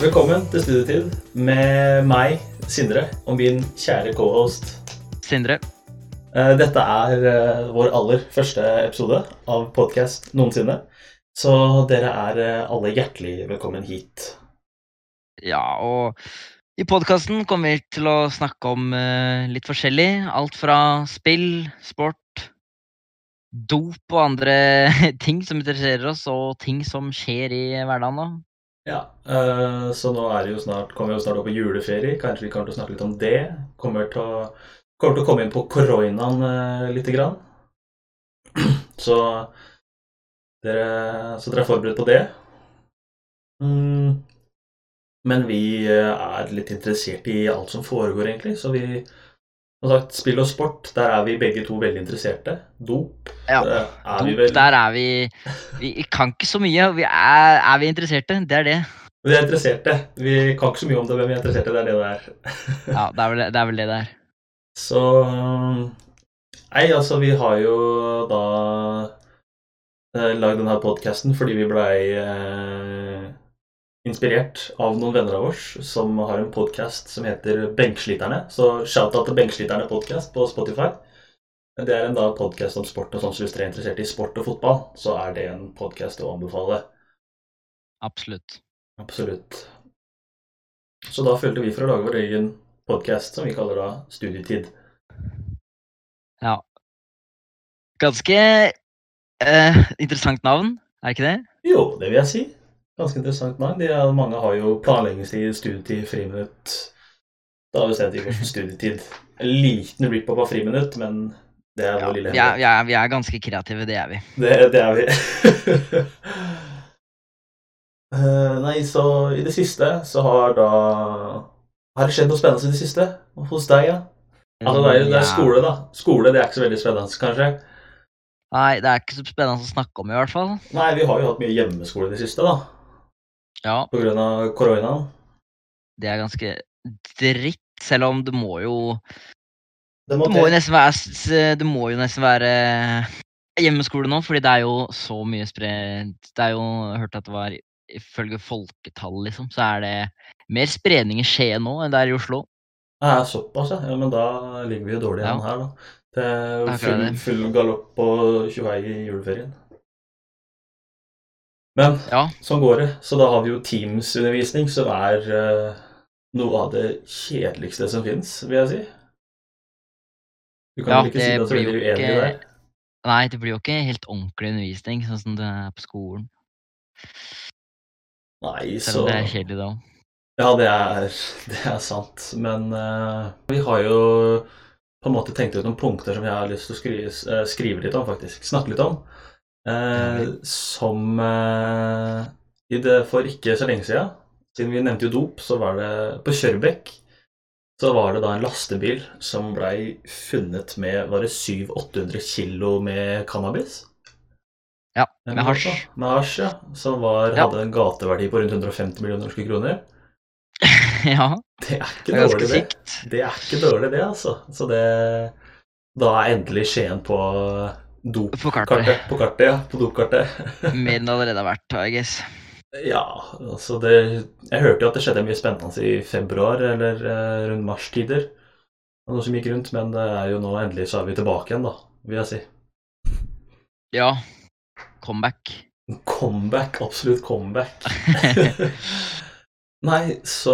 Velkommen til Studietid med meg, Sindre, og min kjære cohost. Sindre. Eh, Dette er eh, vår aller første episode av podkast noensinne, så dere er eh, alle hjertelig velkommen hit. Ja, og i podkasten kommer vi til å snakke om eh, litt forskjellig. Alt fra spill, sport, dop og andre ting som interesserer oss, og ting som skjer i hverdagen. da. Ja, eh, så nå er det jo snart, kommer vi jo snart opp i juleferie, kanskje vi kommer til å snakke litt om det. Kommer til å, kommer til å komme inn på koronaen eh, lite grann. Så dere, så dere er forberedt på det. Mm. Men vi eh, er litt interessert i alt som foregår, egentlig. Så vi Som sagt, spill og sport, der er vi begge to veldig interesserte. Dop Ja, eh, er vi Dop, vel der er vi Vi kan ikke så mye. Vi er, er vi interesserte? Det er det. Vi er interesserte. Vi kan ikke så mye om det, men vi er interesserte. Det er det det er. Ja, det er vel det er. Vel det der. Så eh, Nei, altså, vi har jo da eh, lagd denne podkasten fordi vi blei eh, inspirert av noen venner av oss som har en podkast som heter Benkesliterne. Så shout-out til Benkesliterne podcast på Spotify. Det er en da podkast om sport og sånn, så hvis dere er interessert i sport og fotball, så er det en podkast å anbefale. Absolutt. Absolutt. Så da følte vi for å lage vår egen podkast som vi kaller da Studietid. Ganske eh, interessant navn, er ikke det? Jo, det vil jeg si. Ganske interessant navn. De er, mange har jo planleggingstid, studietid, friminutt. Da har vi stemt i vår studietid. En liten rip opp av friminutt, men det er Ja, vår vi lille er, hemmelighet. vi, er, vi er ganske kreative, det er vi. Det, det er vi. Eh, nei, så i det siste så har da Har det skjedd noe spennende i det siste? Hos deg, ja? Altså, det er, jo- det er Mm, Ja. skole, da. Skole det er ikke så veldig spennende, kanskje. Nei, det er ikke så spennende å snakke om i hvert fall. Nei, vi har jo hatt mye hjemmeskole i det siste, da. Ja, På grunn av koronaen. det er ganske dritt, selv om det må jo Det Det må må jo til. nesten være, s- s- det må jo nesten være hjemmeskole nå, fordi det er jo så mye spre... Det er jo jeg hørte at det var Ifølge folketall, liksom, så er det mer spredning i Skien nå enn det er i Oslo. Ja, såpass, ja. ja. Men da ligger vi jo dårlig an Ja. her, da. Det er jo Det er full, akkurat det. full galopp på tjuvei i juleferien. Men Ja. sånn går det. Så da har vi jo Teams-undervisning, som er eh, noe av det kjedeligste som fins, vil jeg si. Du kan Ja, vel ikke det si deg så blir veldig jo uenig ikke- der? Nei, det blir jo ikke helt ordentlig undervisning, sånn som det er på skolen. Nei, Selv så om det er kjedelig, da. Ja, det er, det er sant. Men eh, vi har jo på en måte tenkt ut noen punkter som jeg har lyst til å skrive, eh, skrive litt om, faktisk. Snakke litt om. Eh, Ja, som eh, i det For ikke så lenge siden, siden vi nevnte jo dop, så var det på Kjørbekk så var det da en lastebil som blei funnet med var det 700-800 kilo med cannabis. Ja, Eller med noe hasj. sånt. Med hasj, ja. Som var, Ja. hadde en gateverdi på rundt 150 millioner norske kroner. ja, Det er ikke det er ganske dårlig, det. sykt. Det er ikke dårlig, det, altså. Så det Da er endelig Skien på dopkartet. På kartet. På kartet, ja. På dopkartet. Mer enn det allerede har vært, I guess. Ja, altså det Jeg hørte jo at det skjedde mye spennende i februar, eller eh, rundt mars-tider. Det var Noe som gikk rundt, men det er jo nå endelig så er vi tilbake igjen, da, vil jeg si. Ja. Comeback. Comeback, absolutt comeback. Nei, så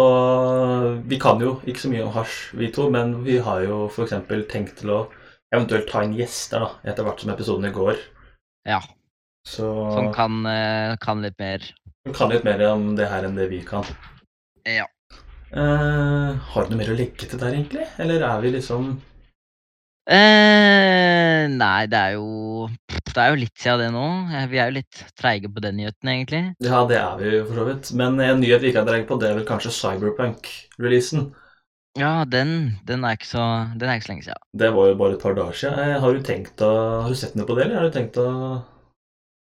Vi kan jo ikke så mye om hasj, vi to, men vi har jo f.eks. tenkt til å eventuelt ta inn gjester da, etter hvert som episoden går. Ja. Så Som kan, eh, kan litt mer. vi kan litt mer om det her enn det vi kan. Ja. Eh, har du noe mer å legge til der, egentlig? Eller er vi liksom Eh, nei, det er jo Det er jo litt siden det nå. Eh, Vi er jo litt treige på den nyheten, egentlig. Ja, det er vi jo for så vidt. Men en nyhet vi ikke har dreid på, det er vel kanskje Cyberpunk-releasen. Ja, den, den, er ikke så, den er ikke så lenge siden. Det var jo bare et par dager siden. Eh, Har du tenkt å Har du sett noe på det, eller har du tenkt å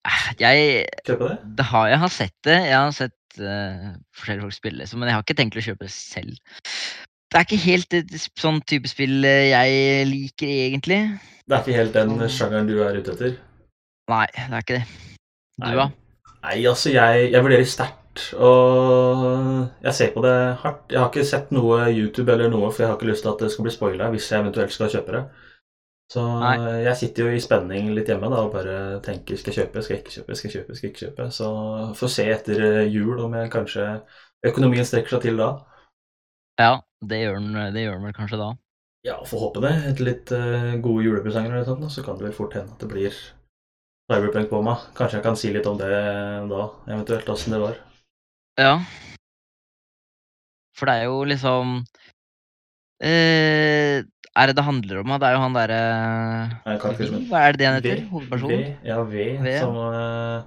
Eh, Jeg, kjøpe det? det har, jeg har sett det. Jeg har sett eh, forskjellige folk spille, så, men jeg har ikke tenkt å kjøpe det selv. Det er ikke helt et s- sånn type spill eh, jeg liker, egentlig. Det er ikke helt Mm. den sjangeren du er ute etter? Nei, det er ikke det. Du, Nei. da? Nei, altså, jeg, jeg vurderer sterkt hardt, og jeg ser på det hardt. Jeg har ikke sett noe YouTube eller noe, for jeg har ikke lyst til at det skal bli spoila hvis jeg eventuelt skal kjøpe det. Så Nei. jeg sitter jo i spenning litt hjemme da, og bare tenker skal jeg kjøpe, skal jeg ikke kjøpe, skal jeg kjøpe, skal jeg ikke kjøpe. Så får se etter eh, jul om jeg kanskje økonomien strekker seg til da. Ja, det gjør den, det gjør den vel kanskje da. Ja, får håpe det. Etter litt eh, gode julepresanger eller sånt, da, så kan det vel fort hende at det blir Cyberpunk på meg. Kanskje jeg kan si litt om det eh, da, eventuelt, åssen det var. Ja. For det er jo liksom eh, Er det det handler om? da? Det er jo han derre Nei, karakter som- Hva er det det han heter? V- Hovedpersonen? V, ja, v, V. som eh,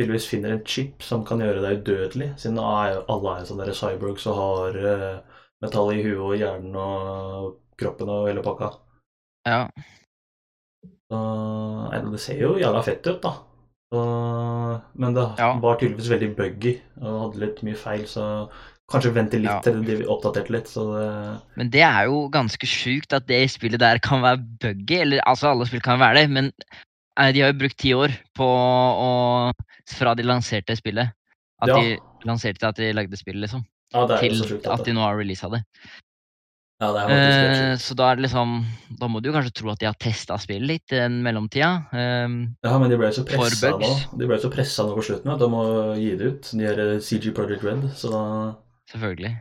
tydeligvis finner en chip som kan gjøre deg udødelig, siden er, jo- alle er jo sånne der cyborgs og har eh, metall i huet og hjernen og kroppen og hele pakka. Ja. Så, nei, det ser jo jævla fett ut, da. Så, men det Ja. var tydeligvis veldig buggy og hadde litt mye feil, så kanskje vente litt Ja. til de oppdaterte litt. Så det, Men det er jo ganske sjukt at det spillet der kan være buggy. Eller altså, alle spill kan være det, men eh, de har jo brukt ti år på å Fra de lanserte spillet. At Ja. de lanserte at de lagde spillet, liksom. ja, det er Til jo så sjukt. at de nå har releasa det. ja, det er faktisk helt Eh, sjukt. så da er det liksom Da må du jo kanskje tro at de har testa spillet litt i den mellomtida. Ehm, Ja, men de ble så For pressa nå. bugs. De ble så presset nå på slutten at de må gi det ut. De her eh, CG Project Red. Så da, selvfølgelig.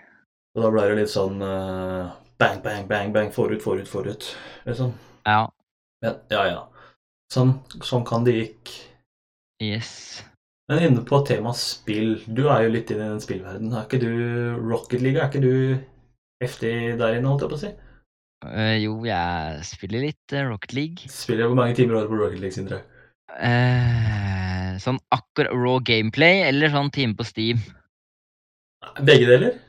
så da ble det litt sånn eh, bang, bang, bang, bang, forut, forut, forut. Liksom. Ja. Men ja, ja. Sånn, sånn kan det gikk. Yes. Men inne på temaet spill. Du er jo litt inne i den spillverdenen. Er ikke du Rocket League? Er ikke du heftig der inne, holdt jeg på å si? Eh, jo, jeg spiller litt eh, Rocket League. Spiller jeg hvor mange timer har du på Rocket League, Sindre? Eh, sånn akkurat raw gameplay eller sånn time på Steam. Begge deler?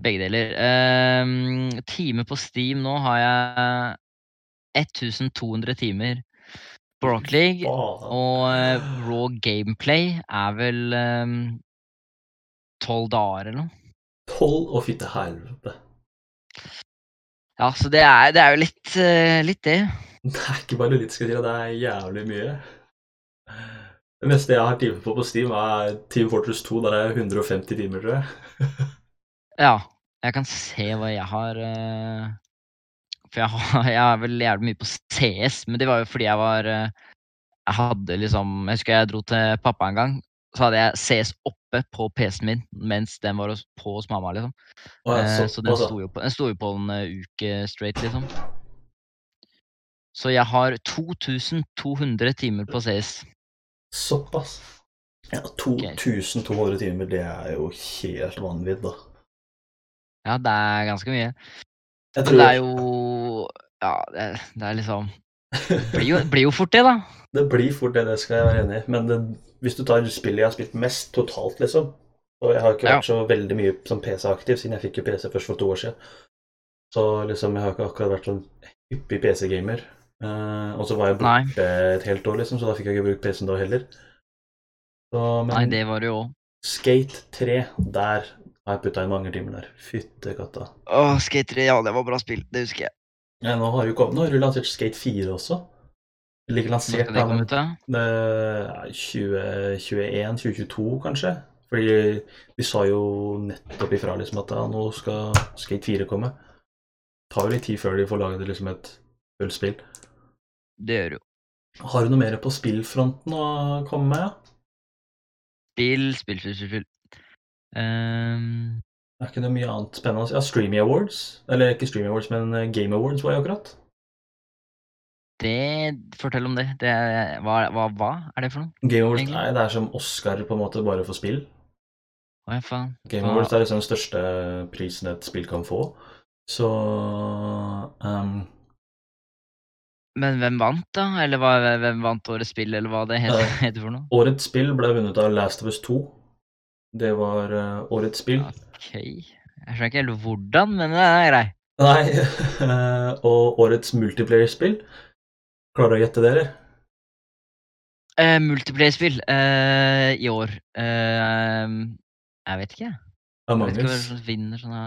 Begge deler. Ehm, time på Steam nå har jeg 1200 timer på Rock League. Faen. Og eh, raw gameplay er vel eh, tolv dager eller noe. Tolv og fytte helvete. Ja, så det er, det er jo litt, eh, litt det. Det er ikke bare litt, skal jeg si deg. Det er jævlig mye. Det meste jeg har timer på på Steam, er Team Fortress 2. Der er jeg 150 timer, tror jeg. Ja. Jeg kan se hva jeg har eh, For jeg, har, jeg er vel jævlig mye på CS, men det var jo fordi jeg var eh, Jeg hadde liksom Jeg husker jeg dro til pappa en gang. Så hadde jeg CS oppe på PC-en min mens den var hos- på hos mamma. liksom. Og jeg, Eh, så, så den altså, sto, jo på, den sto jo på en eh, uke straight, liksom. Så jeg har 2200 timer på CS. altså. Såpass. Ja, 2200 timer, det er jo helt vanvidd, da. Ja, det er ganske mye. Jeg Men tror det er jo Ja, det, det er liksom Blir jo, blir jo fort det, da. det blir fort det, det skal jeg være enig i. Men det, hvis du tar spillet jeg har spilt mest totalt, liksom Og jeg har ikke vært så veldig mye som PC-aktiv, siden jeg fikk jo PC først for to år siden. Så liksom, jeg har ikke akkurat vært sånn hyppig PC-gamer. Eh, og så var jeg borte Nei. et helt år, liksom, så da fikk jeg ikke brukt PC-en da heller. Så, men Nei, det var det jo òg. Skate 3, der har jeg putta inn mange timer der. Fytte katta. Å, Skate 3, ja, det var bra spill. Det husker jeg. Ja, nå har jo kommet, nå har du lansert Skate 4 også. Eller ikke Når lansert, skal det da, men komme ut, da? Eh, 2021, 2022 kanskje. Fordi de sa jo nettopp ifra liksom at ja, nå skal Skate 4 komme. Det tar jo litt tid før de får laget liksom et fullt spill. Det gjør jo. Har du noe mer på spillfronten å komme med? Spill, spill, spill, spill. spill. Ehm, Det er ikke noe mye annet spennende? Ja, Streamy Awards. Eller ikke Streamy Awards, men eh, Game Awards var jo akkurat. det Fortell om det. det er- hva, hva, hva er det for noe? Game Awards Egentlig. nei, det er som Oscar på en måte bare for spill. Å, ja, faen. Game Ja. Awards er liksom den største prisen et spill kan få. Så ehm, Men hvem vant, da? Eller hva, hvem vant årets spill, eller hva det heter, Eh, heter for noe? Årets spill ble vunnet av Last of Us 2. Det var eh, årets spill. Ok. Jeg skjønner ikke helt hvordan, men det er grei. Nei, eh, og årets multiplayer-spill. Klarer du å gjette dere? Uh, Multiplayer-spill eh, i år. Eh, jeg vet ikke. Jeg Among vet ikke hvem Us. som vinner sånne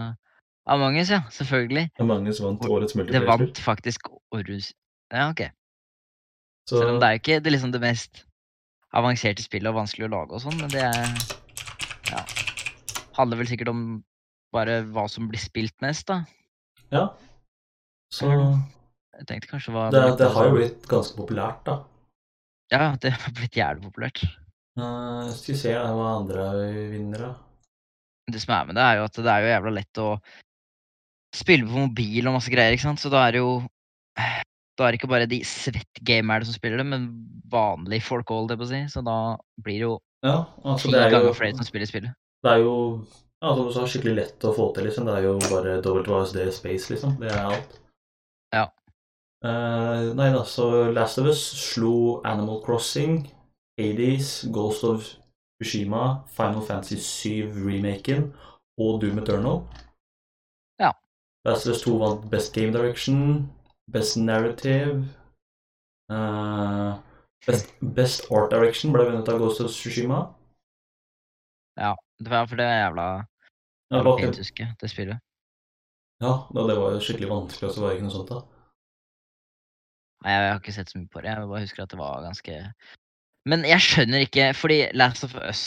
Among us, ja. Selvfølgelig. Among Us vant årets Det multiplayer-spill. vant faktisk Orus. Ja, ok. Så Selv om det er jo ikke det, er liksom det mest avanserte spillet og vanskelig å lage og sånn, men det er Ja. handler vel sikkert om bare hva som blir spilt mest, da. Ja. Så Jeg tenkte kanskje hva det, det har jo blitt ganske populært, da. Ja, det har blitt jævlig populært. Eh, skal vi se hva andre vinnere Det som er med det, er jo at det er jo jævla lett å spille på mobil og masse greier, ikke sant, så da er det jo Da er det ikke bare de svettgamerne som spiller det, men vanlige folk òg, holdt jeg på å si, så da blir det jo Ja, altså ti det er jo ganger flere som spiller spillet. Det er jo ja, som du sa, skikkelig lett å få til, liksom. Det er jo bare WSD Space, liksom. Det er alt. Ja. Eh, nei da, så Last of Us slo Animal Crossing, Hades, Ghost of Ushima, Final Fantasy 7-remaken og Doom Eternal. Ja. Last of Us 2 vant Best Game Direction, Best Narrative eh, best, best Art Direction ble vunnet av Ghost of Sushima. Det var for det er jævla Ja, bak, fint, husker jeg, det spillet. Ja, da det var jo skikkelig vanskelig, og så var det ikke noe sånt, da. Nei, jeg har ikke sett så mye på det. Jeg bare husker at det var ganske Men jeg skjønner ikke, fordi Last of Us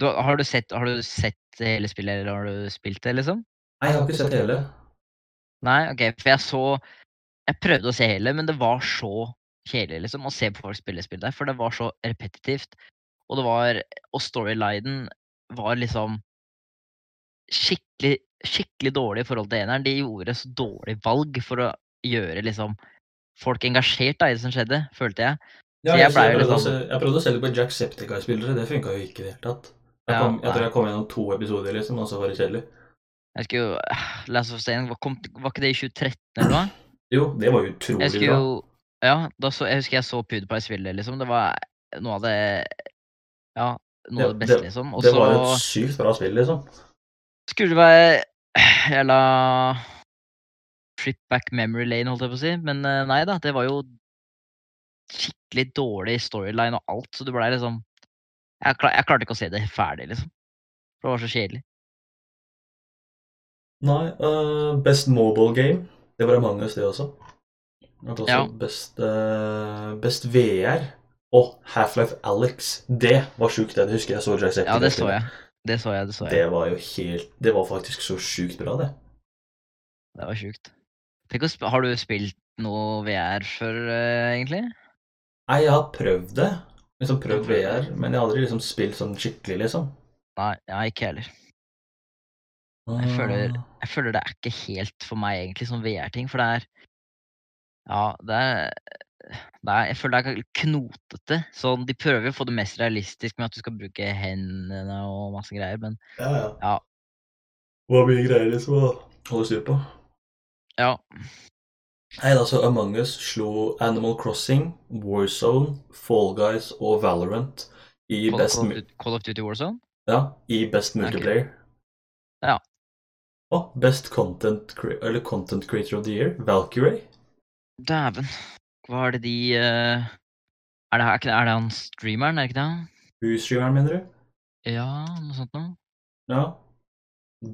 du, har, du sett, har du sett hele spillet, eller har du spilt det, liksom? Nei, jeg har ikke sett hele. Nei, OK, for jeg så Jeg prøvde å se hele, men det var så kjedelig, liksom, å se på folk spille spill der, for det var så repetitivt. Og det var Og storylinen var liksom skikkelig, skikkelig dårlig i forhold til eneren. De gjorde så dårlig valg for å gjøre liksom folk engasjert da, i det som skjedde, følte jeg. Ja, Så jeg ble jo prøvde litt sånn- å se, jeg prøvde å selge på Jacksepticeye-spillere, det funka jo ikke i det hele tatt. Jeg, Ja, kom, jeg nei. tror jeg kom gjennom to episoder, liksom, og så var det kjedelig. Jeg husker jo eh, Last of Us 1, var, kom, var ikke det i 2013 eller noe? Jo, det var Jeg utrolig husker bra. jo Ja, da så, jeg husker jeg så PewDiePie spille, liksom. Det var noe av det Ja, noe av Det- det beste, det- liksom. Det Og var et så sykt bra spill, liksom. skulle det være eh, jævla Trip back memory lane, holdt jeg på å si. Men eh, nei da, det var jo skikkelig dårlig storyline og alt, så det blei liksom jeg, klar, jeg klarte ikke å se det ferdig, liksom. For det var så kjedelig. Nei, øh, Best Mobile Game, det var Among Us, det også. Og også Ja. best, øh, best VR og Half-Life Alex. Det var sjukt, det. Det husker jeg så Jacksepticeye. Ja, det så jeg. Det så jeg, det så jeg. Det var jo helt Det var faktisk så sjukt bra, det. Det var sjukt. Tenk å sp har du spilt noe VR før, eh, egentlig? Nei, jeg har prøvd det. Liksom prøvd VR, men jeg har aldri liksom spilt sånn skikkelig, liksom. Nei, jeg ikke heller. Jeg føler- Jeg føler det er ikke helt for meg, egentlig, som VR-ting, for det er Ja, det er det er, jeg føler det er knotete. Sånn, de prøver jo å få det mest realistisk med at du skal bruke hendene og masse greier, men Ja, ja. Ja. Det var mye greier liksom å holde styr på. ja. Nei, da, så Among Us slo Animal Crossing, Warzone, Fall Guys og Valorant i Call, best, Call, of mu- Duty- Call of Duty Warzone? ja, i best multiplayer. Ja. Og Best Content, cre- eller content Creator of the Year, Valkyrie. Dæven. Hva er det de eh, er, det, er, ikke- er det han streameren, er det ikke det? han? Husstreameren, mener du? Ja, noe sånt noe? Ja.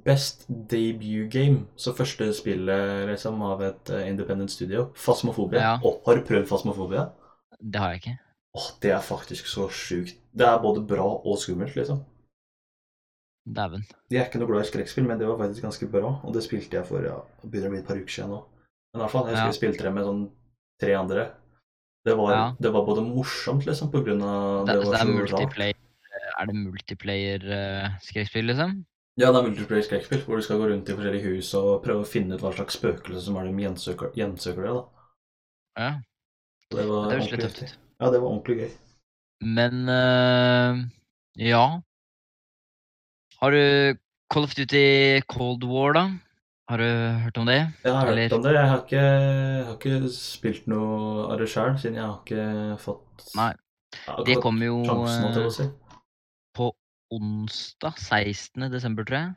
Best debut game, så første spillet liksom, av et eh, independent studio. Fasmofobia. Ja. Å, har du prøvd fasmofobia? Det har jeg ikke. Åh, det er faktisk så sjukt. Det er både bra og skummelt, liksom. Dæven. Jeg er ikke noe glad i skrekkspill, men det var faktisk ganske bra, og det spilte jeg for ja, det begynner å bli et par uker siden nå. Men i hvert fall, jeg husker Ja. jeg spilte det med sånn tre andre. Det var, Ja. det var både morsomt, liksom, på grunn av Det, det, så det var er så rart. multiplayer Er det multiplayer eh, skrekkspill, liksom? Ja, det er multiplayer skrekkspill, hvor du skal gå rundt i forskjellige hus og prøve å finne ut hva slags spøkelse som er de gjensøker, gjensøker det, da. Ja. Så Det var Det høres litt ordentlig tøft heftig. ut. Ja, det var ordentlig gøy. Men eh, ja. Har du Call of Duty Cold War, da? Har du hørt om det? Jeg har hørt Eller- om det. Jeg har ikke, jeg har ikke spilt noe av det sjøl, siden jeg har ikke fått Nei. Jeg har Det ikke fått kommer jo sjansen til å eh, si. onsdag 16. desember, tror jeg.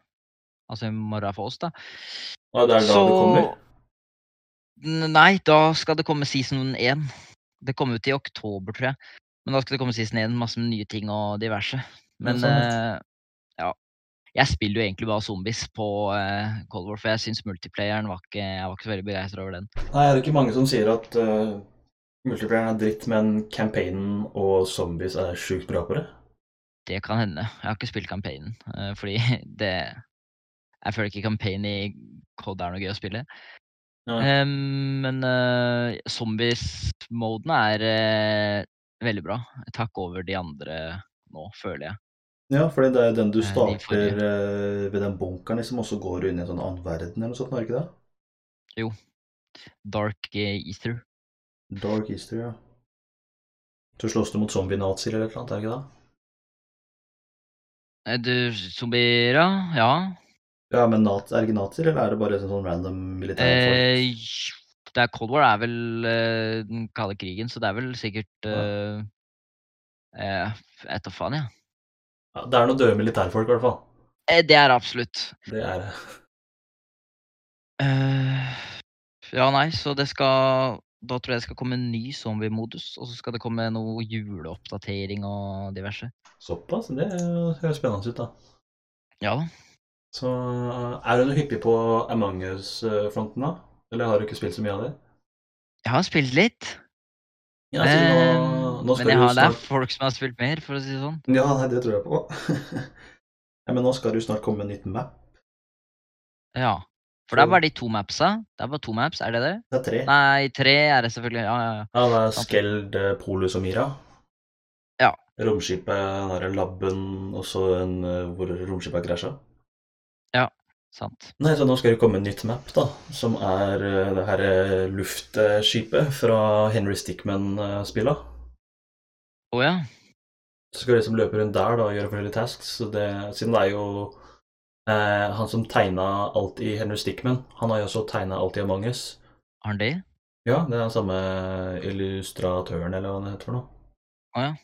Altså i morgen for oss, da. Og det er da det kommer? N- Nei, da skal det komme season 1. Det kommer ut i oktober, tror jeg. Men da skal det komme season 1, masse med nye ting og diverse. Men sånn, ja. eh, ja. Jeg spiller jo egentlig bare zombies på eh, Cold War, for jeg syns multiplayeren var ikke, jeg var ikke så veldig begeistra over den. Nei, er det ikke mange som sier at uh, multiplayeren er dritt, men campaignen og zombies er sjukt bra på det? Det kan hende. Jeg har ikke spilt campaignen, eh, fordi det Jeg føler ikke campaign i COD er noe gøy å spille. Nei. Eh, men eh, zombies-moden er eh, veldig bra. Takk over de andre nå, føler jeg. Ja, for det er jo den du Eh, de starter forrige. eh, ved den bunkeren, liksom, og så går du inn i en sånn annen verden eller noe sånt, er det ikke det? Dark eh, Ether. Dark Easter, ja. Så slåss du mot zombie-nazier eller noe, er det ikke det? Eh, Du, zombier, ja? Ja. Ja, men nat er det ikke nazier, eller er det bare en sånn random militær folk? Eh, det er Cold War er vel eh, den kalde krigen, så det er vel sikkert eh, eh, Et og faen, ja. Ja, det er noen døde militærfolk, i hvert fall. Eh, Det er absolutt. Det er det. Eh, ja, nei, så det skal Da tror jeg det skal komme en ny zombie-modus, og så skal det komme noe juleoppdatering og diverse. Såpass, det høres spennende ut, da. Ja da. Så eh, er du noe hyppig på Among us-fronten, da? Eller har du ikke spilt så mye av det? Jeg har spilt litt. Ja, siden nå, eh, nå men skal jeg du har, det er snart folk som har spilt mer, for å si det sånn. Ja, nei, det tror jeg på. ja, men nå skal det jo snart komme en nytt map. Ja. For det Så- er bare de to mapsa. Det er bare to maps, er det det? Det er tre. Nei, tre er det selvfølgelig. Ja, ja, ja. Ja, det er Skeld, eh, Polus og Mira. Ja. Romskipet, den derre labben, og så en eh, hvor romskipet har krasja. Sant. Nei, så nå skal det komme en nytt map, da. Som er eh, det her eh, luftskipet fra Henry Stickman-spilla. Å ja. Så skal du liksom løpe rundt der da, og gjøre forskjellige tasks. Så det, siden det er jo eh, han som tegna alt i Henry Stickman, han har jo også tegna alt i Among us. Har han det? Ja, det er den samme illustratøren, eller hva det heter for noe. Å, ja.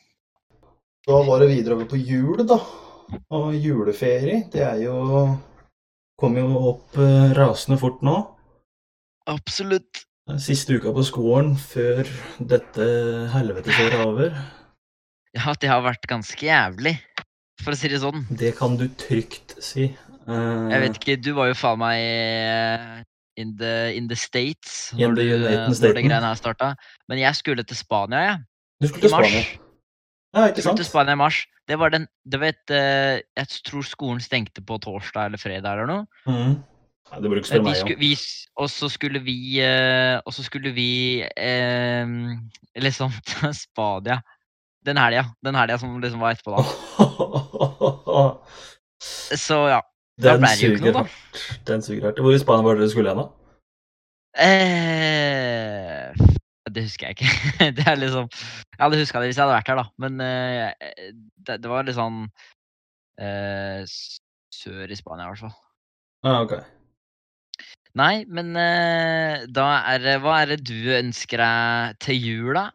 Da var det videre over på jul, da. Og juleferie, det er jo Kommer jo opp eh, rasende fort nå. Absolutt. Siste uka på skolen før dette helvetesåret er over. Ja, det har vært ganske jævlig, for å si det sånn. Det kan du trygt si. Jeg vet ikke, du var jo faen meg eh, in the, in the States In når, the du, eh, United når det Staten. greiene her starta. Men jeg skulle til Spania, jeg. Eh, Du skulle til I mars. Spania. Ja, ikke Skulle til sant? Spania i mars. Det var den Du vet, eh, jeg tror skolen stengte på torsdag eller fredag eller noe. Mhm. Nei, det burde du ikke spørre Eh, De meg sku, om. vi, s- og så skulle vi eh, Og så skulle vi eh, liksom til Spania den helga. Den helga som liksom var etterpå, da. Så ja. Da Den ble det jo ikke suger noe, da. hardt. Den suger hardt. Hvor i Spania var det du skulle hen, da? Eh, det husker jeg ikke. det er liksom Jeg hadde huska det hvis jeg hadde vært her, da. Men eh, det, det var litt sånn eh, s- sør i Spania, i hvert fall. Ah, ok. Nei, men eh, da er det Hva er det du ønsker deg til jul, da?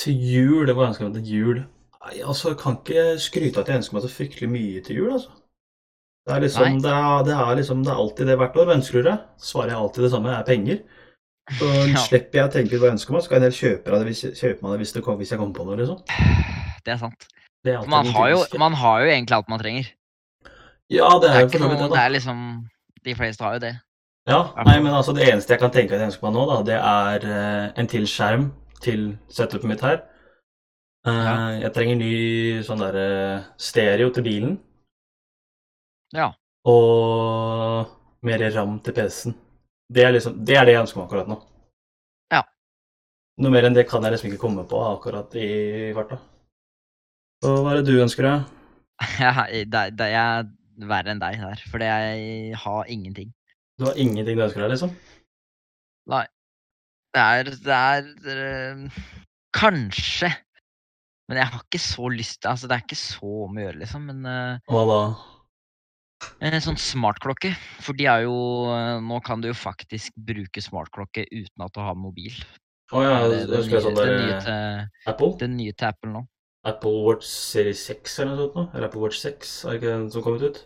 Til jul, det var jeg ønsket meg til jul. Nei, altså, jeg kan ikke skryte at jeg ønsker meg så fryktelig mye til jul, altså. Det er liksom, Nei. det er, det er liksom, det er alltid det hvert år. Hva ønsker du deg? Svarer jeg alltid det samme, er penger. Så Ja. slipper jeg å tenke ut hva jeg ønsker meg, så kan jeg heller kjøpe, det hvis, kjøpe meg det hvis, det kom, hvis jeg kommer på noe, liksom. Det er sant. Det er alltid Man den har, jo, typiske. man har jo egentlig alt man trenger. Ja, det Det er jo er, for ikke så vidt noe, det, det da. er liksom De fleste har jo det. Ja, nei, men altså, det eneste jeg kan tenke at jeg ønsker meg nå, da, det er eh, en til skjerm til setupet mitt her. Eh, Ja. Jeg trenger ny sånn der eh, stereo til bilen. Ja. Og mer ram til PC-en. Det er, liksom, det er det jeg ønsker meg akkurat nå. Ja. Noe mer enn det kan jeg liksom ikke komme på akkurat i farta. Så hva er det du ønsker deg? Jeg, det, det, jeg er verre enn deg der, fordi jeg har ingenting. Du har ingenting du ønsker deg, liksom? Det er, det er eh, Kanskje. Men jeg har ikke så lyst Altså, det er ikke så om å gjøre, liksom. Men eh, Hva da? en sånn smartklokke. For de er jo eh, Nå kan du jo faktisk bruke smartklokke uten at du har mobil. Å ja, Det er jeg det ønsker deg nye- sånn det der nye eh, til- Apple? det nye til Apple nå. Apple Watch Series 6 eller noe sånt nå? Eller Apple Watch 6, er det ikke den som kommet ut?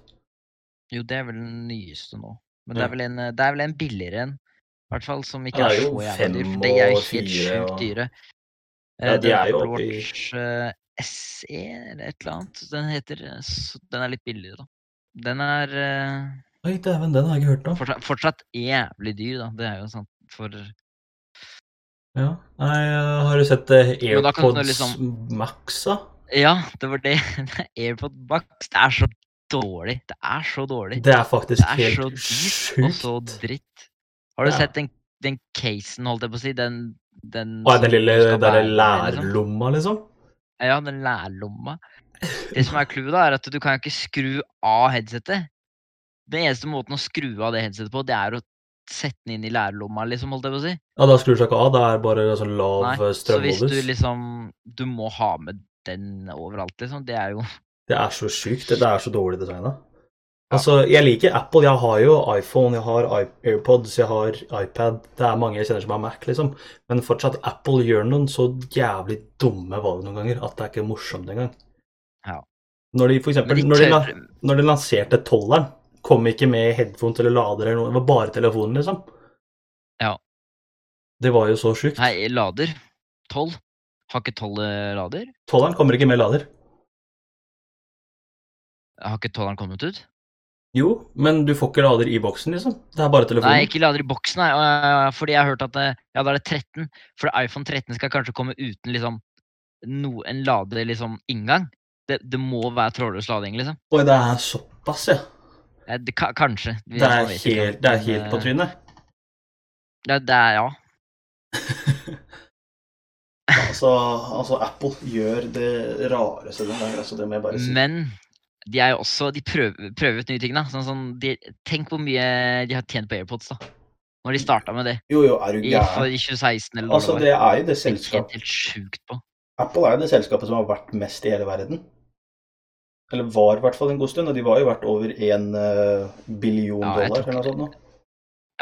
Jo, det er vel den nyeste nå. Men det Ja. er vel en, eh, det er vel en billigere en. I hvert fall som ikke Ja, er det er så jo jævlig fem dyr. For de er og jo helt fire sjukt og- dyre. Ja, Eh, de den er jo Apple oppe i- Watch, eh, SE eller et eller annet. Den heter eh, så Den er litt billigere, da. Den er eh, Oi, dæven, den har jeg ikke hørt om. fortsatt, fortsatt jævlig dyr, da. Det er jo sant. For Ja. Nei, eh, har du sett eh, Jo, da kan du AirPods liksom- Max, da? Ja, det var det. Airpod Bucks. Det er så dårlig. Det er så dårlig. Det er faktisk Det er så helt dyrt altså, og så sjukt. dritt. Har du Ja. sett den, den casen, holdt jeg på å si? Den, den Å, som den lille der skal bære det, liksom? lærlomma, liksom? Ja, den lærlomma. Det som er clouet, da, er at du kan jo ikke skru av headsetet. Den eneste måten å skru av det headsetet på, det er å sette den inn i lærlomma, liksom, holdt jeg på å si. Ja, da skrur du seg ikke av. Det er bare sånn lav Nei, eh, Så hvis du strømmodus. liksom Du må ha med den overalt, liksom. Det er jo Det er så sjukt. Det er så dårlig designa. Altså, jeg liker Apple. Jeg har jo iPhone, jeg har i- AirPods, jeg har iPad. Det er mange jeg kjenner som har Mac, liksom. Men fortsatt, Apple gjør noen så jævlig dumme valg noen ganger at det er ikke morsomt engang. Ja. Når de for eksempel, Men de når, de, tør, la- når de lanserte tolleren, kom ikke med headphones eller lader eller noe, det var bare telefonen, liksom. Ja. Det var jo så sjukt. Nei, lader. Tolv. Har ikke tolv eh, lader? Tolleren kommer ikke med lader. Har ikke tolveren kommet ut? Jo, men du får ikke lader i boksen, liksom. Det er bare telefonen. Nei, ikke lader i boksen, nei. øh, Fordi jeg har hørt at det, ja, da er det 13. For iPhone 13 skal kanskje komme uten liksom no, en lader liksom inngang. Det, det må være trådløs lading, liksom. Oi, det er såpass, ja. Eh, Det, ka- kanskje. Vi- Det man er vet ikke, helt, det er men, helt på eh, trynet. Ja, det er, ja. Altså, altså, Apple gjør det rareste noen ganger, altså, det må jeg bare si. Men de er jo også De prøver, prøver ut nye ting, da. Sånn, sånn, de, tenk hvor mye de har tjent på AirPods, da. Når de starta med det. Jo, jo, er du I, for gæren? i 2016 eller Altså, når det var. det er jo det Det gikk helt, selskapet helt sjukt på. Apple er jo det selskapet som har vært mest i hele verden. Eller var i hvert fall en god stund, og de var jo verdt over én billion Ja, jeg dollar tror eller noe sånt. nå.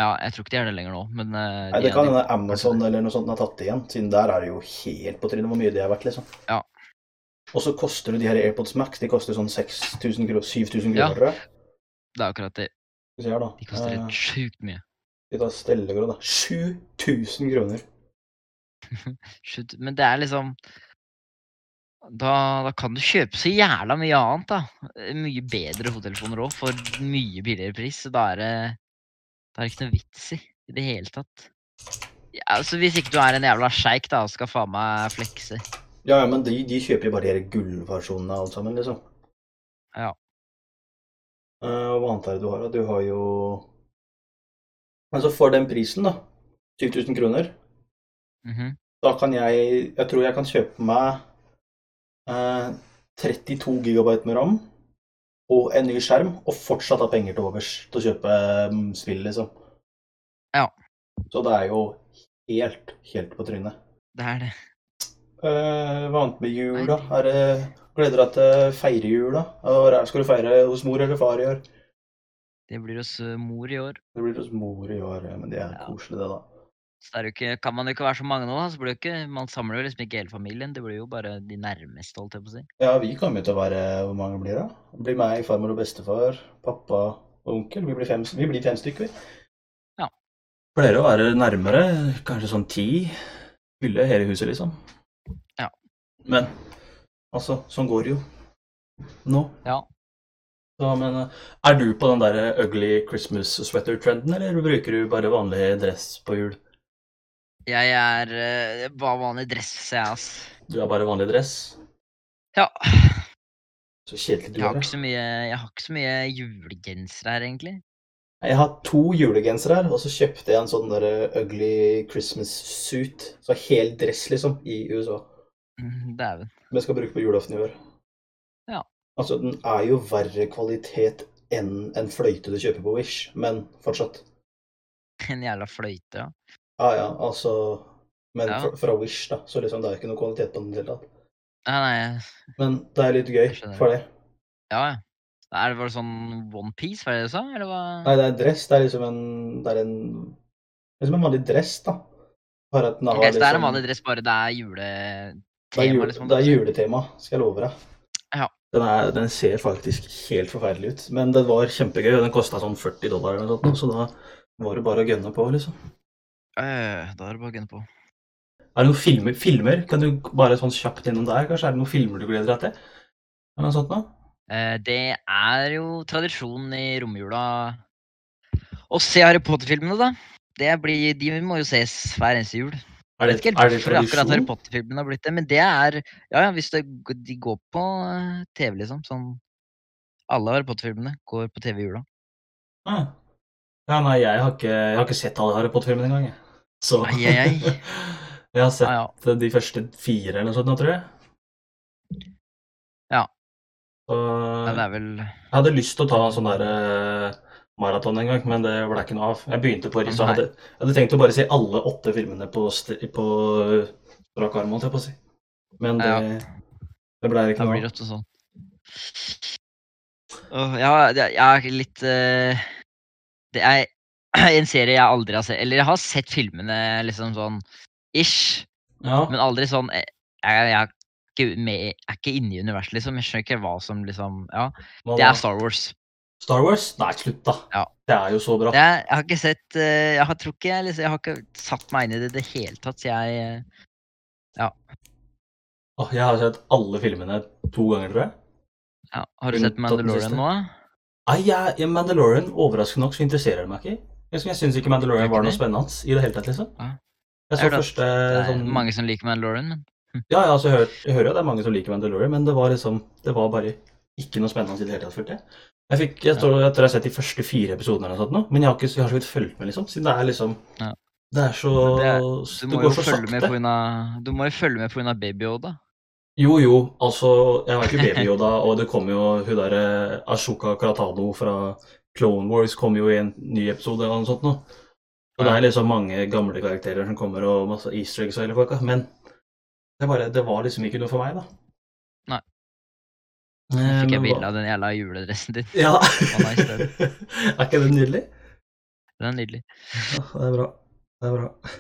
Ja, jeg tror ikke de er det lenger nå, men eh, Nei, de det er kan det. hende Amazon eller noe sånt har tatt det igjen, siden der er det jo helt på trynet hvor mye det er verdt, liksom. Ja. Og så koster jo de her AirPods Max, de koster sånn 6000 kroner, 7000 Ja. kroner, tror jeg. Det er akkurat det. Skal vi se her, da. De koster Eh, helt sjukt mye. Vi tar Stellegrå, da. 7000 kroner. Shoot, Men det er liksom da, da kan du kjøpe så jævla mye annet, da. Eh, Mye bedre hodetelefoner òg, for mye billigere pris. Så da er det Da er det ikke noe vits i i det hele tatt. Ja, altså Hvis ikke du er en jævla sjeik da, og skal faen meg flekse. Ja, ja, men de, de kjøper jo bare de her gullversjonene av alt sammen, liksom. Ja. Eh, hva annet er det du har? da? Du har jo Altså, for den prisen, da, 7000 kroner, Mhm. da kan jeg Jeg tror jeg kan kjøpe meg eh, 32 gigabyte med ram og en ny skjerm, og fortsatt ha penger til overs til å kjøpe mm, spill, liksom. Ja. Så det er jo helt, helt på trynet. Det er det. Eh, Hva annet med jul, da? Er det, gleder deg til feirejul, da? Eller er- Skal du feire hos mor eller far i år? Det blir hos eh, mor i år. Det blir hos mor i år, ja, men det er Ja. koselig, det, da. Så det er jo ikke, kan man jo ikke være så mange nå, da. Så blir det jo ikke, man samler jo liksom ikke hele familien. Det blir jo bare de nærmeste, holdt jeg på å si. Ja, vi kommer jo til å være Hvor mange blir det? Det blir meg, farmor og bestefar, pappa og onkel. Vi blir fem, vi blir fem stykker, vi. Ja. Pleier å være nærmere, kanskje sånn ti. Fylle hele huset, liksom. Ja. Men altså, sånn går det jo. Nå. Ja. Ja, men eh, Er du på den der ugly Christmas sweater-trenden, eller bruker du bare vanlig dress på jul? Jeg er eh, bare vanlig dress, jeg, ass. Du har bare vanlig dress? Ja. Så kjedelig du Jeg har er. ikke så mye, jeg har ikke så mye julegenser her, egentlig. da. Jeg har to julegensere her, og så kjøpte jeg en sånn der eh, ugly Christmas suit. Så hel dress, liksom, i USA. Mm, Dæven. Som jeg skal bruke på julaften i år. Ja. Altså, den er jo verre kvalitet enn en fløyte du kjøper på Wish, men fortsatt. En jævla fløyte, ja. Ja, ja, altså Men Ja. fra, fra Wish, da, så liksom det er ikke noe kvalitet på den i det hele tatt. Ja, nei, Men det er litt gøy Jeg skjønner. for det. ja, ja. Er det bare sånn one piece, var det det du sa? Eller hva? Nei, det er dress. Det er liksom en Det er en, liksom en vanlig dress, da. Bare at den har Ok, så det er en liksom- vanlig dress, bare det er det er, juletema, jul, liksom? det er juletema, skal jeg love deg. Ja. Den, er, den ser faktisk helt forferdelig ut, men den var kjempegøy. og Den kosta sånn 40 dollar eller noe sånt, så da var det bare å gønne på, liksom. Øh, da er det bare å gunne på. Er det noen filmer? filmer? Kan du bare sånn kjapt innom der, kanskje? Er det noen filmer du gleder deg til? Eller noe sånt nå? Eh, det er jo tradisjonen i romjula å se Harry Potter-filmene, da. Det blir, de må jo ses hver eneste jul. Er Jeg det, vet ikke er helt det hvorfor akkurat Harry tradisjon? Potter-filmen har blitt det, men det er Ja, ja, hvis det, de går på eh, TV, liksom. Sånn Alle Harry Potter-filmene går på TV i jula. Ah. Ja, nei, jeg har ikke, jeg har ikke sett alle Harry Potter-filmene engang. jeg. Så Ai, ai, ai. jeg har sett Ja, ja. de første fire eller noe sånt, nå, tror jeg. Ja. Så ja, det er vel jeg hadde lyst til å ta en sånn der eh, maraton en gang, men det ble ikke noe av. Jeg begynte på så jeg Nei. hadde, jeg hadde tenkt å bare se alle åtte filmene på, st- på strak arm, holdt jeg på å si. Men det, Ja. det ble Da ikke blir noe av. det ofte sånn. Åh, ja, det- jeg er litt eh, Det er en serie jeg aldri har sett. Eller jeg har sett filmene liksom sånn ish, Ja. men aldri sånn eh, Jeg, jeg er ikke med, er ikke inne i universet, liksom. Jeg skjønner ikke hva som liksom Ja, hva det da? er Star Wars. Star Wars? Nei, slutt, da. Ja. Det er jo så bra. Det er, jeg har ikke sett eh, Jeg har, tror ikke jeg liksom Jeg har ikke satt meg inn i det i det hele tatt, så jeg eh, Åh, jeg har sett alle filmene to ganger, tror jeg. ja, Har du Unntatt sett den Mandalorian siste. nå? da? Nei, jeg, jeg- Mandalorian overraskende nok så interesserer det meg ikke. Jeg, jeg syns ikke Mandalorian var noe spennende i det hele tatt, liksom. Ja. Jeg så Jeg har hørt at første Det er sånn mange som liker Mandalorian, men Ja, ja, altså, jeg, hører, jeg hører jo det er mange som liker Mandalorian, men det var liksom Det var bare ikke noe spennende i det hele tatt, følte jeg. Jeg, fikk, jeg, tror, jeg tror jeg har sett de første fire episodene eller noe sånt nå, men jeg har ikke jeg har så vidt fulgt med, liksom. Siden det er liksom Ja. Det er så Men det er- Det, Du må, jo går så følge med sakte. på grunn av- du må jo følge med pga. baby òg, da. Jo, jo, altså Jeg var ikke baby Yoda, og det kom jo hun derre Ashoka Karatano fra Clone Wars kom jo i en ny episode eller noe sånt nå. Og det er liksom mange gamle karakterer som kommer, og masse easter eggs og hele pakka, men det, bare, det var liksom ikke noe for meg, da. Nei. Nå Nå fikk jeg bilde av den jævla juledressen din. Ja. var nice, er ikke det nydelig? Den er nydelig. Ja, det er bra. Det er bra.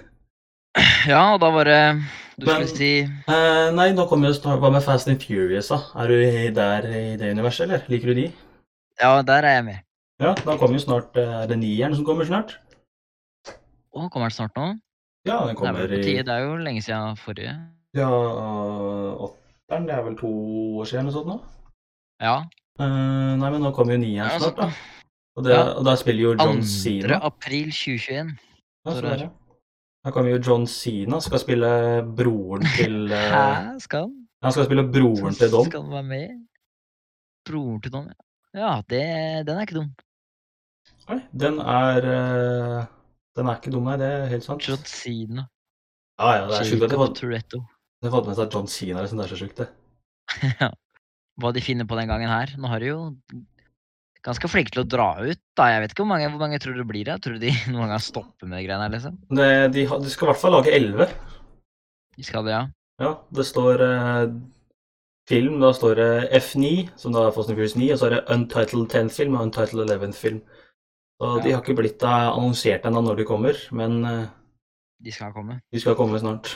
Ja, og da var det Du Men- skulle si Eh, nei, nå kommer jo snart Hva med Fast and Furious, da? Er du i- der i det universet, eller? Liker du de? Ja, der er jeg med. Ja, da kommer jo snart eh, Er det nieren som kommer snart? Å, kommer den snart nå? Ja, den Det er, kommer vel på i tide. det er jo lenge siden forrige. Ja, åtteren. Det er vel to år siden eller noe sånt nå? Ja. Eh, nei, men nå kommer jo ja nieren altså, snart, da. Og, det, Ja. og der spiller jo John 2. Cena. april 2021. Ja, så der. der, ja. Da kommer jo John Cena, skal spille broren til eh, Hæ, skal han? Han skal spille broren til Dom. Skal han være med? Broren til Dom, ja. Ja, det, den er ikke dum. Nei, den er eh, Den er ikke dum, nei. Det er helt sant. John Sina. Ja, ja, det er sjukt at jeg fant- Toretto. jeg fant med seg John Cena. Liksom, det er så sjukt, det. hva de finner på den gangen her. Nå har de jo ganske flinke til å dra ut, da. Jeg vet ikke hvor mange, hvor mange tror du det blir da? Tror du de noen gang stopper med de greiene her, liksom? det de, har- de skal i hvert fall lage elleve. De skal det, ja. Ja, det står eh, film, da står det F9, som da er Fast and Furious 9, og så er det Untitled 10-film og Untitled 11-film. Så De Ja. har ikke blitt eh, annonsert ennå når de kommer, men eh, De skal komme. De skal komme snart.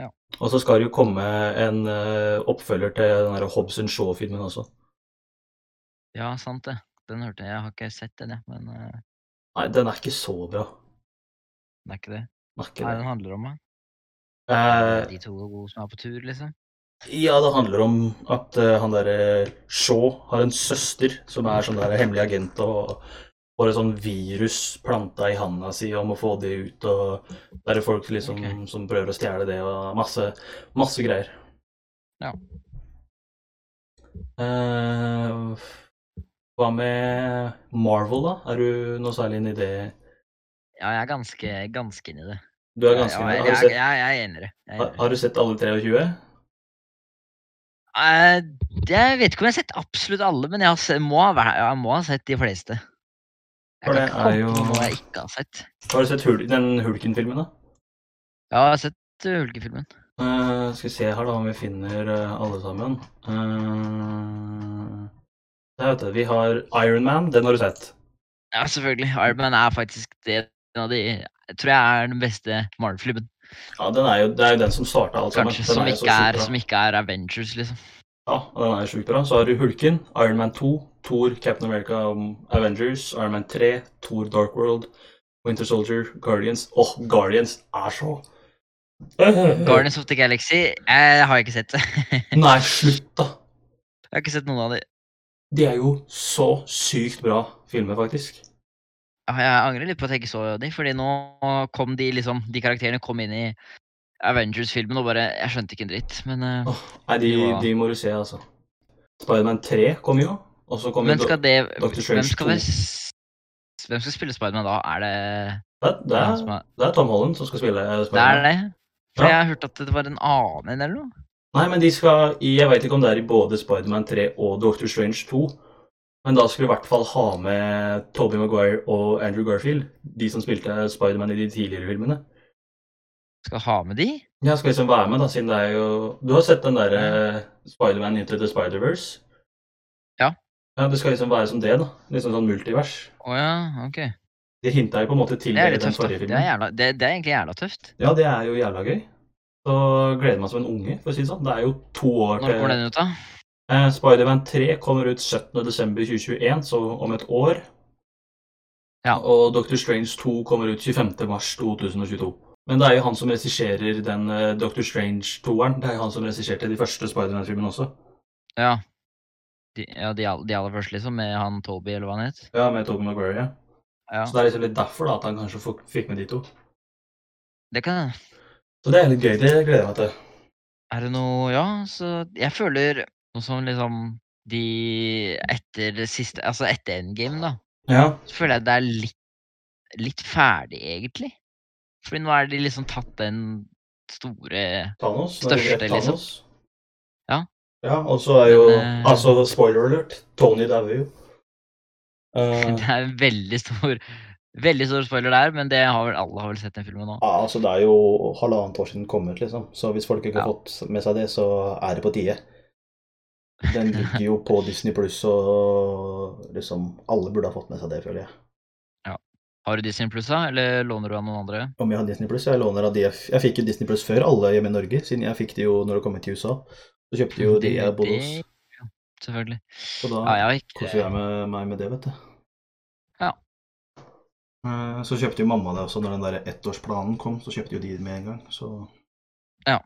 Ja. Og så skal det jo komme en eh, oppfølger til den der Hobbs and Shaw-filmen også. Ja, sant det. Den hørte jeg. Jeg har ikke sett den, jeg. Men eh, Nei, den er ikke så bra. det er ikke det. Den er ikke Hva er det. det den handler om, da? Eh, De to som er på tur, liksom? ja, det handler om at eh, han derre Shaw har en søster som er sånn der hemmelig agent og får et sånn virus planta i handa si om å få det ut, og det er det folk liksom Ok. som prøver å stjele det, og masse, masse greier. Ja. Eh, hva med Marvel, da? Er du noe særlig inn i det? Ja, jeg er ganske, ganske inni det. Du er ganske inn ja, i jeg, det. Har du jeg, sett, jeg, jeg er enig i det. Jeg er har, enig i det. har du sett alle 23? Eh, Jeg vet ikke om jeg har sett absolutt alle, men jeg, har se, må, ha, væ- jeg må ha sett de fleste. For det Jeg kan ikke komme er på jo- noe jeg ikke har sett. Har du sett hul, den Hulken-filmen, da? Ja, jeg har sett uh, Hulkefilmen. Eh, skal vi se her, da, om vi finner eh, alle sammen. Eh, der, vet du, vi har Iron Man. Den har du sett. Ja, selvfølgelig. Iron Man er faktisk det en av de Jeg tror jeg er den beste Marvel-filmen. Ja, den er jo, Det er jo den som starta alt sammen. Kanskje. Den Som jo så ikke, sjukt er, bra. som ikke er Avengers, liksom. Ja, og den er jo sjukt bra. Så har du Hulken, Iron Man 2, Thor, Captain America, um, Avengers, Iron Man 3, Thor Dark World, Winter Soldier, Guardians. Åh, Guardians er så Guardians of the Galaxy eh, jeg har ikke sett det. jeg Nei, slutt, da! har ikke sett noen av de. De er jo så sykt bra filmer, faktisk. Ja, Ah, Jeg angrer litt på at jeg ikke så de, fordi nå kom de liksom De karakterene kom inn i Avengers-filmen og bare Jeg skjønte ikke en dritt, men eh, Åh, nei, de, Ja. de må du se, altså. Spiderman 3 kom jo, og så kom jo Men skal det Doctor Strange Hvem 2. skal, være, s- hvem skal spille Spiderman da? Er det Det, det, han er, som er det er Tom Holland som skal spille eh, Det er Spiderman. det? For Ja. jeg har hørt at det var en annen en eller noe. Nei, men de skal i Jeg veit ikke om det er i både Spiderman 3 og Doctor Strange 2. Men da skulle du i hvert fall ha med Toby Maguire og Andrew Garfield. De som spilte Spiderman i de tidligere filmene. Skal ha med de? Jeg skal liksom være med, da, siden det er jo Du har sett den derre Spiderman Into the Spider-Verse? Ja. ja. Det skal liksom være som det, da. Liksom sånn multivers. Å ja, ok. De hinta jo på en måte til Det er det i litt den tøft, da. forrige Det filmen. er, jævla, det, det er egentlig jævla tøft. Ja, det er jo jævla gøy. Så gleder jeg meg som en unge, for å si det sånn. Det er jo to år Når til kommer den ut, da? eh, Spiderman 3 kommer ut 17.12.2021, så om et år. Ja. Og Doctor Strange 2 kommer ut 25.3.2022. Men det er jo han som regisserer den eh, Doctor Strange-toeren. Det er jo han som regisserte de første Spiderman-filmene også. Ja. De, ja, de, all- de aller første, liksom, med han Toby, eller hva han het. Ja, med Tobey Maguire. Ja. Ja, Så det er liksom litt derfor da, at han kanskje fok- fikk med de to. det kan hende. Så det er litt gøy. Det gleder jeg meg til. Er det noe Ja, så jeg føler noe som liksom de etter det siste Altså etter endgame, da, Ja. så føler jeg det er litt, litt ferdig, egentlig. Fordi nå er de liksom tatt den store Thanos. Største, når det gjelder liksom. Ja. Ja, og så er jo Men, eh, Altså, spoiler alert, Tony dauer jo. Eh, Det er en veldig stor Veldig stor spoiler der, men det har vel alle har vel sett den filmen nå. ja, altså det er jo halvannet år siden den kom ut, liksom. Så hvis folk ikke har Ja. fått med seg det, så er det på tide. Den ligger jo på Disney pluss, og liksom Alle burde ha fått med seg det, føler jeg. Har du Disney Pluss, da? Eller låner du av noen andre? Om jeg har Disney pluss, jeg låner av de jeg, f jeg fikk jo Disney pluss før alle hjemme i Norge, siden jeg fikk det jo når det kom til USA. Så kjøpte jo de jeg bodde hos. Det- ja, Selvfølgelig. Så da Ja, jeg har ikke koser jeg med, meg med det, vet du. Ja. Eh, Så kjøpte jo mamma det også, når den der ettårsplanen kom, så kjøpte jo de med en gang, så Ja.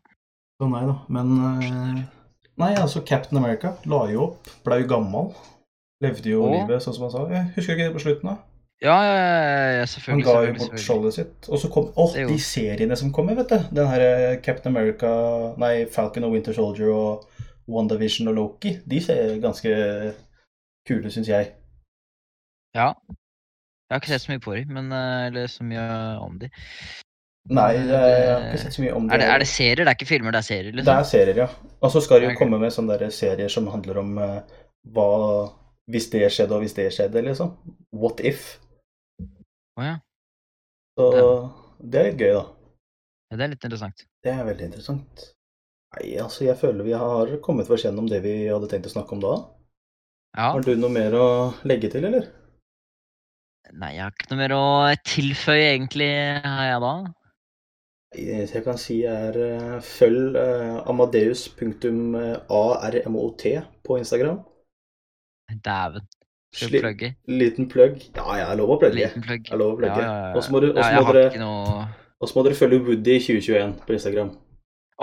Så nei da, men eh, Nei, altså Captain America la jo opp, blei jo gammal. Levde jo Og? livet sånn som han sa. Jeg husker ikke det på slutten, da. Ja, ja, ja, ja, Han selvfølgelig. ga jo selvfølgelig, bort selvfølgelig. skjoldet sitt. Og så kom Åh, Det gjorde de han. seriene som kommer, vet du. Den her eh, Captain America Nei, Falcon og Winter Soldier og WandaVision og Loki. De ser ganske kule, syns jeg. Ja. Jeg har ikke sett så mye på dem, men eh, Eller så mye om dem. Nei, jeg har ikke sett så mye om Er det, er det serier? Det er ikke filmer, det er serier, Det liksom? er serier, ja. Og så skal det jo Ok. komme med sånne der serier som handler om eh, hva Hvis det skjedde, og hvis det skjedde, liksom. What if? Å ja. Så det er litt gøy, da. ja. Det er litt interessant. Det er veldig interessant. Nei, altså, jeg føler vi har kommet oss gjennom det vi hadde tenkt å snakke om da. Ja. Har du noe mer å legge til, eller? Nei, jeg har ikke noe mer å tilføye, egentlig, har jeg da. Det eneste jeg kan si, er eh, følg eh, amadeus.armot på Instagram. Dæven. Skal Sli- vi plugge? Liten plugg. Ja, jeg er lov å plugge. Liten plugg. Jeg er lov å plugge. Ja, ja, ja. Og så må, du, og Ja, så må, jeg har ikke dere- noe og så må dere følge Woody 2021 på Instagram.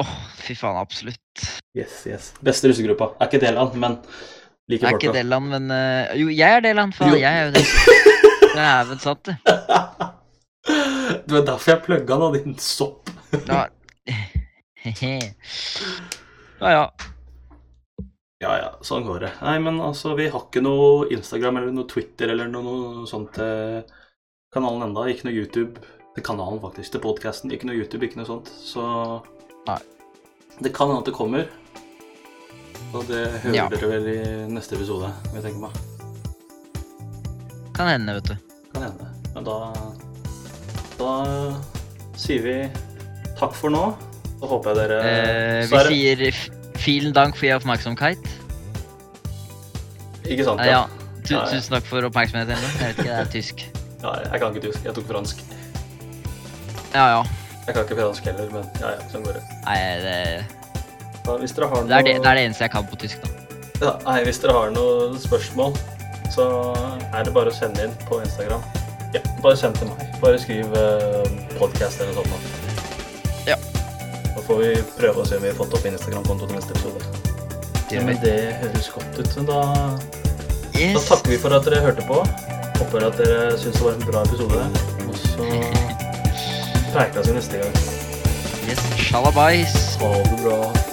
Åh, fy faen, absolutt. Yes, yes. Beste russegruppa. Er ikke del av den, men Jeg liker er ikke folka. Delan, men eh, Jo, jeg er Delan, faen. Jo. Jeg er jo det. Dæven satt, det. Det var derfor jeg plugga den, da, din sopp. Ja. ja, ja. Ja, ja, sånn går det. Nei, men altså, vi har ikke noe Instagram eller noe Twitter eller noe, noe sånt til kanalen enda. Ikke noe YouTube til kanalen, faktisk. Til podkasten. Ikke noe YouTube, ikke noe sånt. Så Nei. Det kan hende at det kommer. Og det hører Ja. dere vel i neste episode, vil jeg tenke meg. Kan hende, vet du. Kan hende. Men da Da sier vi takk for nå. Så håper jeg dere Eh, så er vi sier f- 'vielen dank for Ihr Aufmerksamkeit'. det- Ikke sant? Eh, ja. Tu Ja, ja. Tusen takk for oppmerksomhet. Emil. Jeg vet ikke, det er tysk. ja. Jeg kan ikke tysk. Jeg tok fransk. Ja, ja. Jeg kan ikke fransk heller, men ja, ja, sånn går det. Nei, det, Ja, Hvis dere har noe det, er det, det er det eneste jeg kan på tysk, da. Ja, nei, hvis dere har noen spørsmål, så er det bare å sende inn på Instagram. Ja, bare send til meg. Bare skriv eh, podcast eller sånn. da. Ja. Da får vi prøve å se om vi har fått opp Instagram-kontoen til neste episode. Det gjør men det høres godt ut. så Da, da Yes. takker vi for at dere hørte på. Håper at dere syns det var en bra episode. Og så prekes vi neste gang. Yes, shalabais. Ha det bra.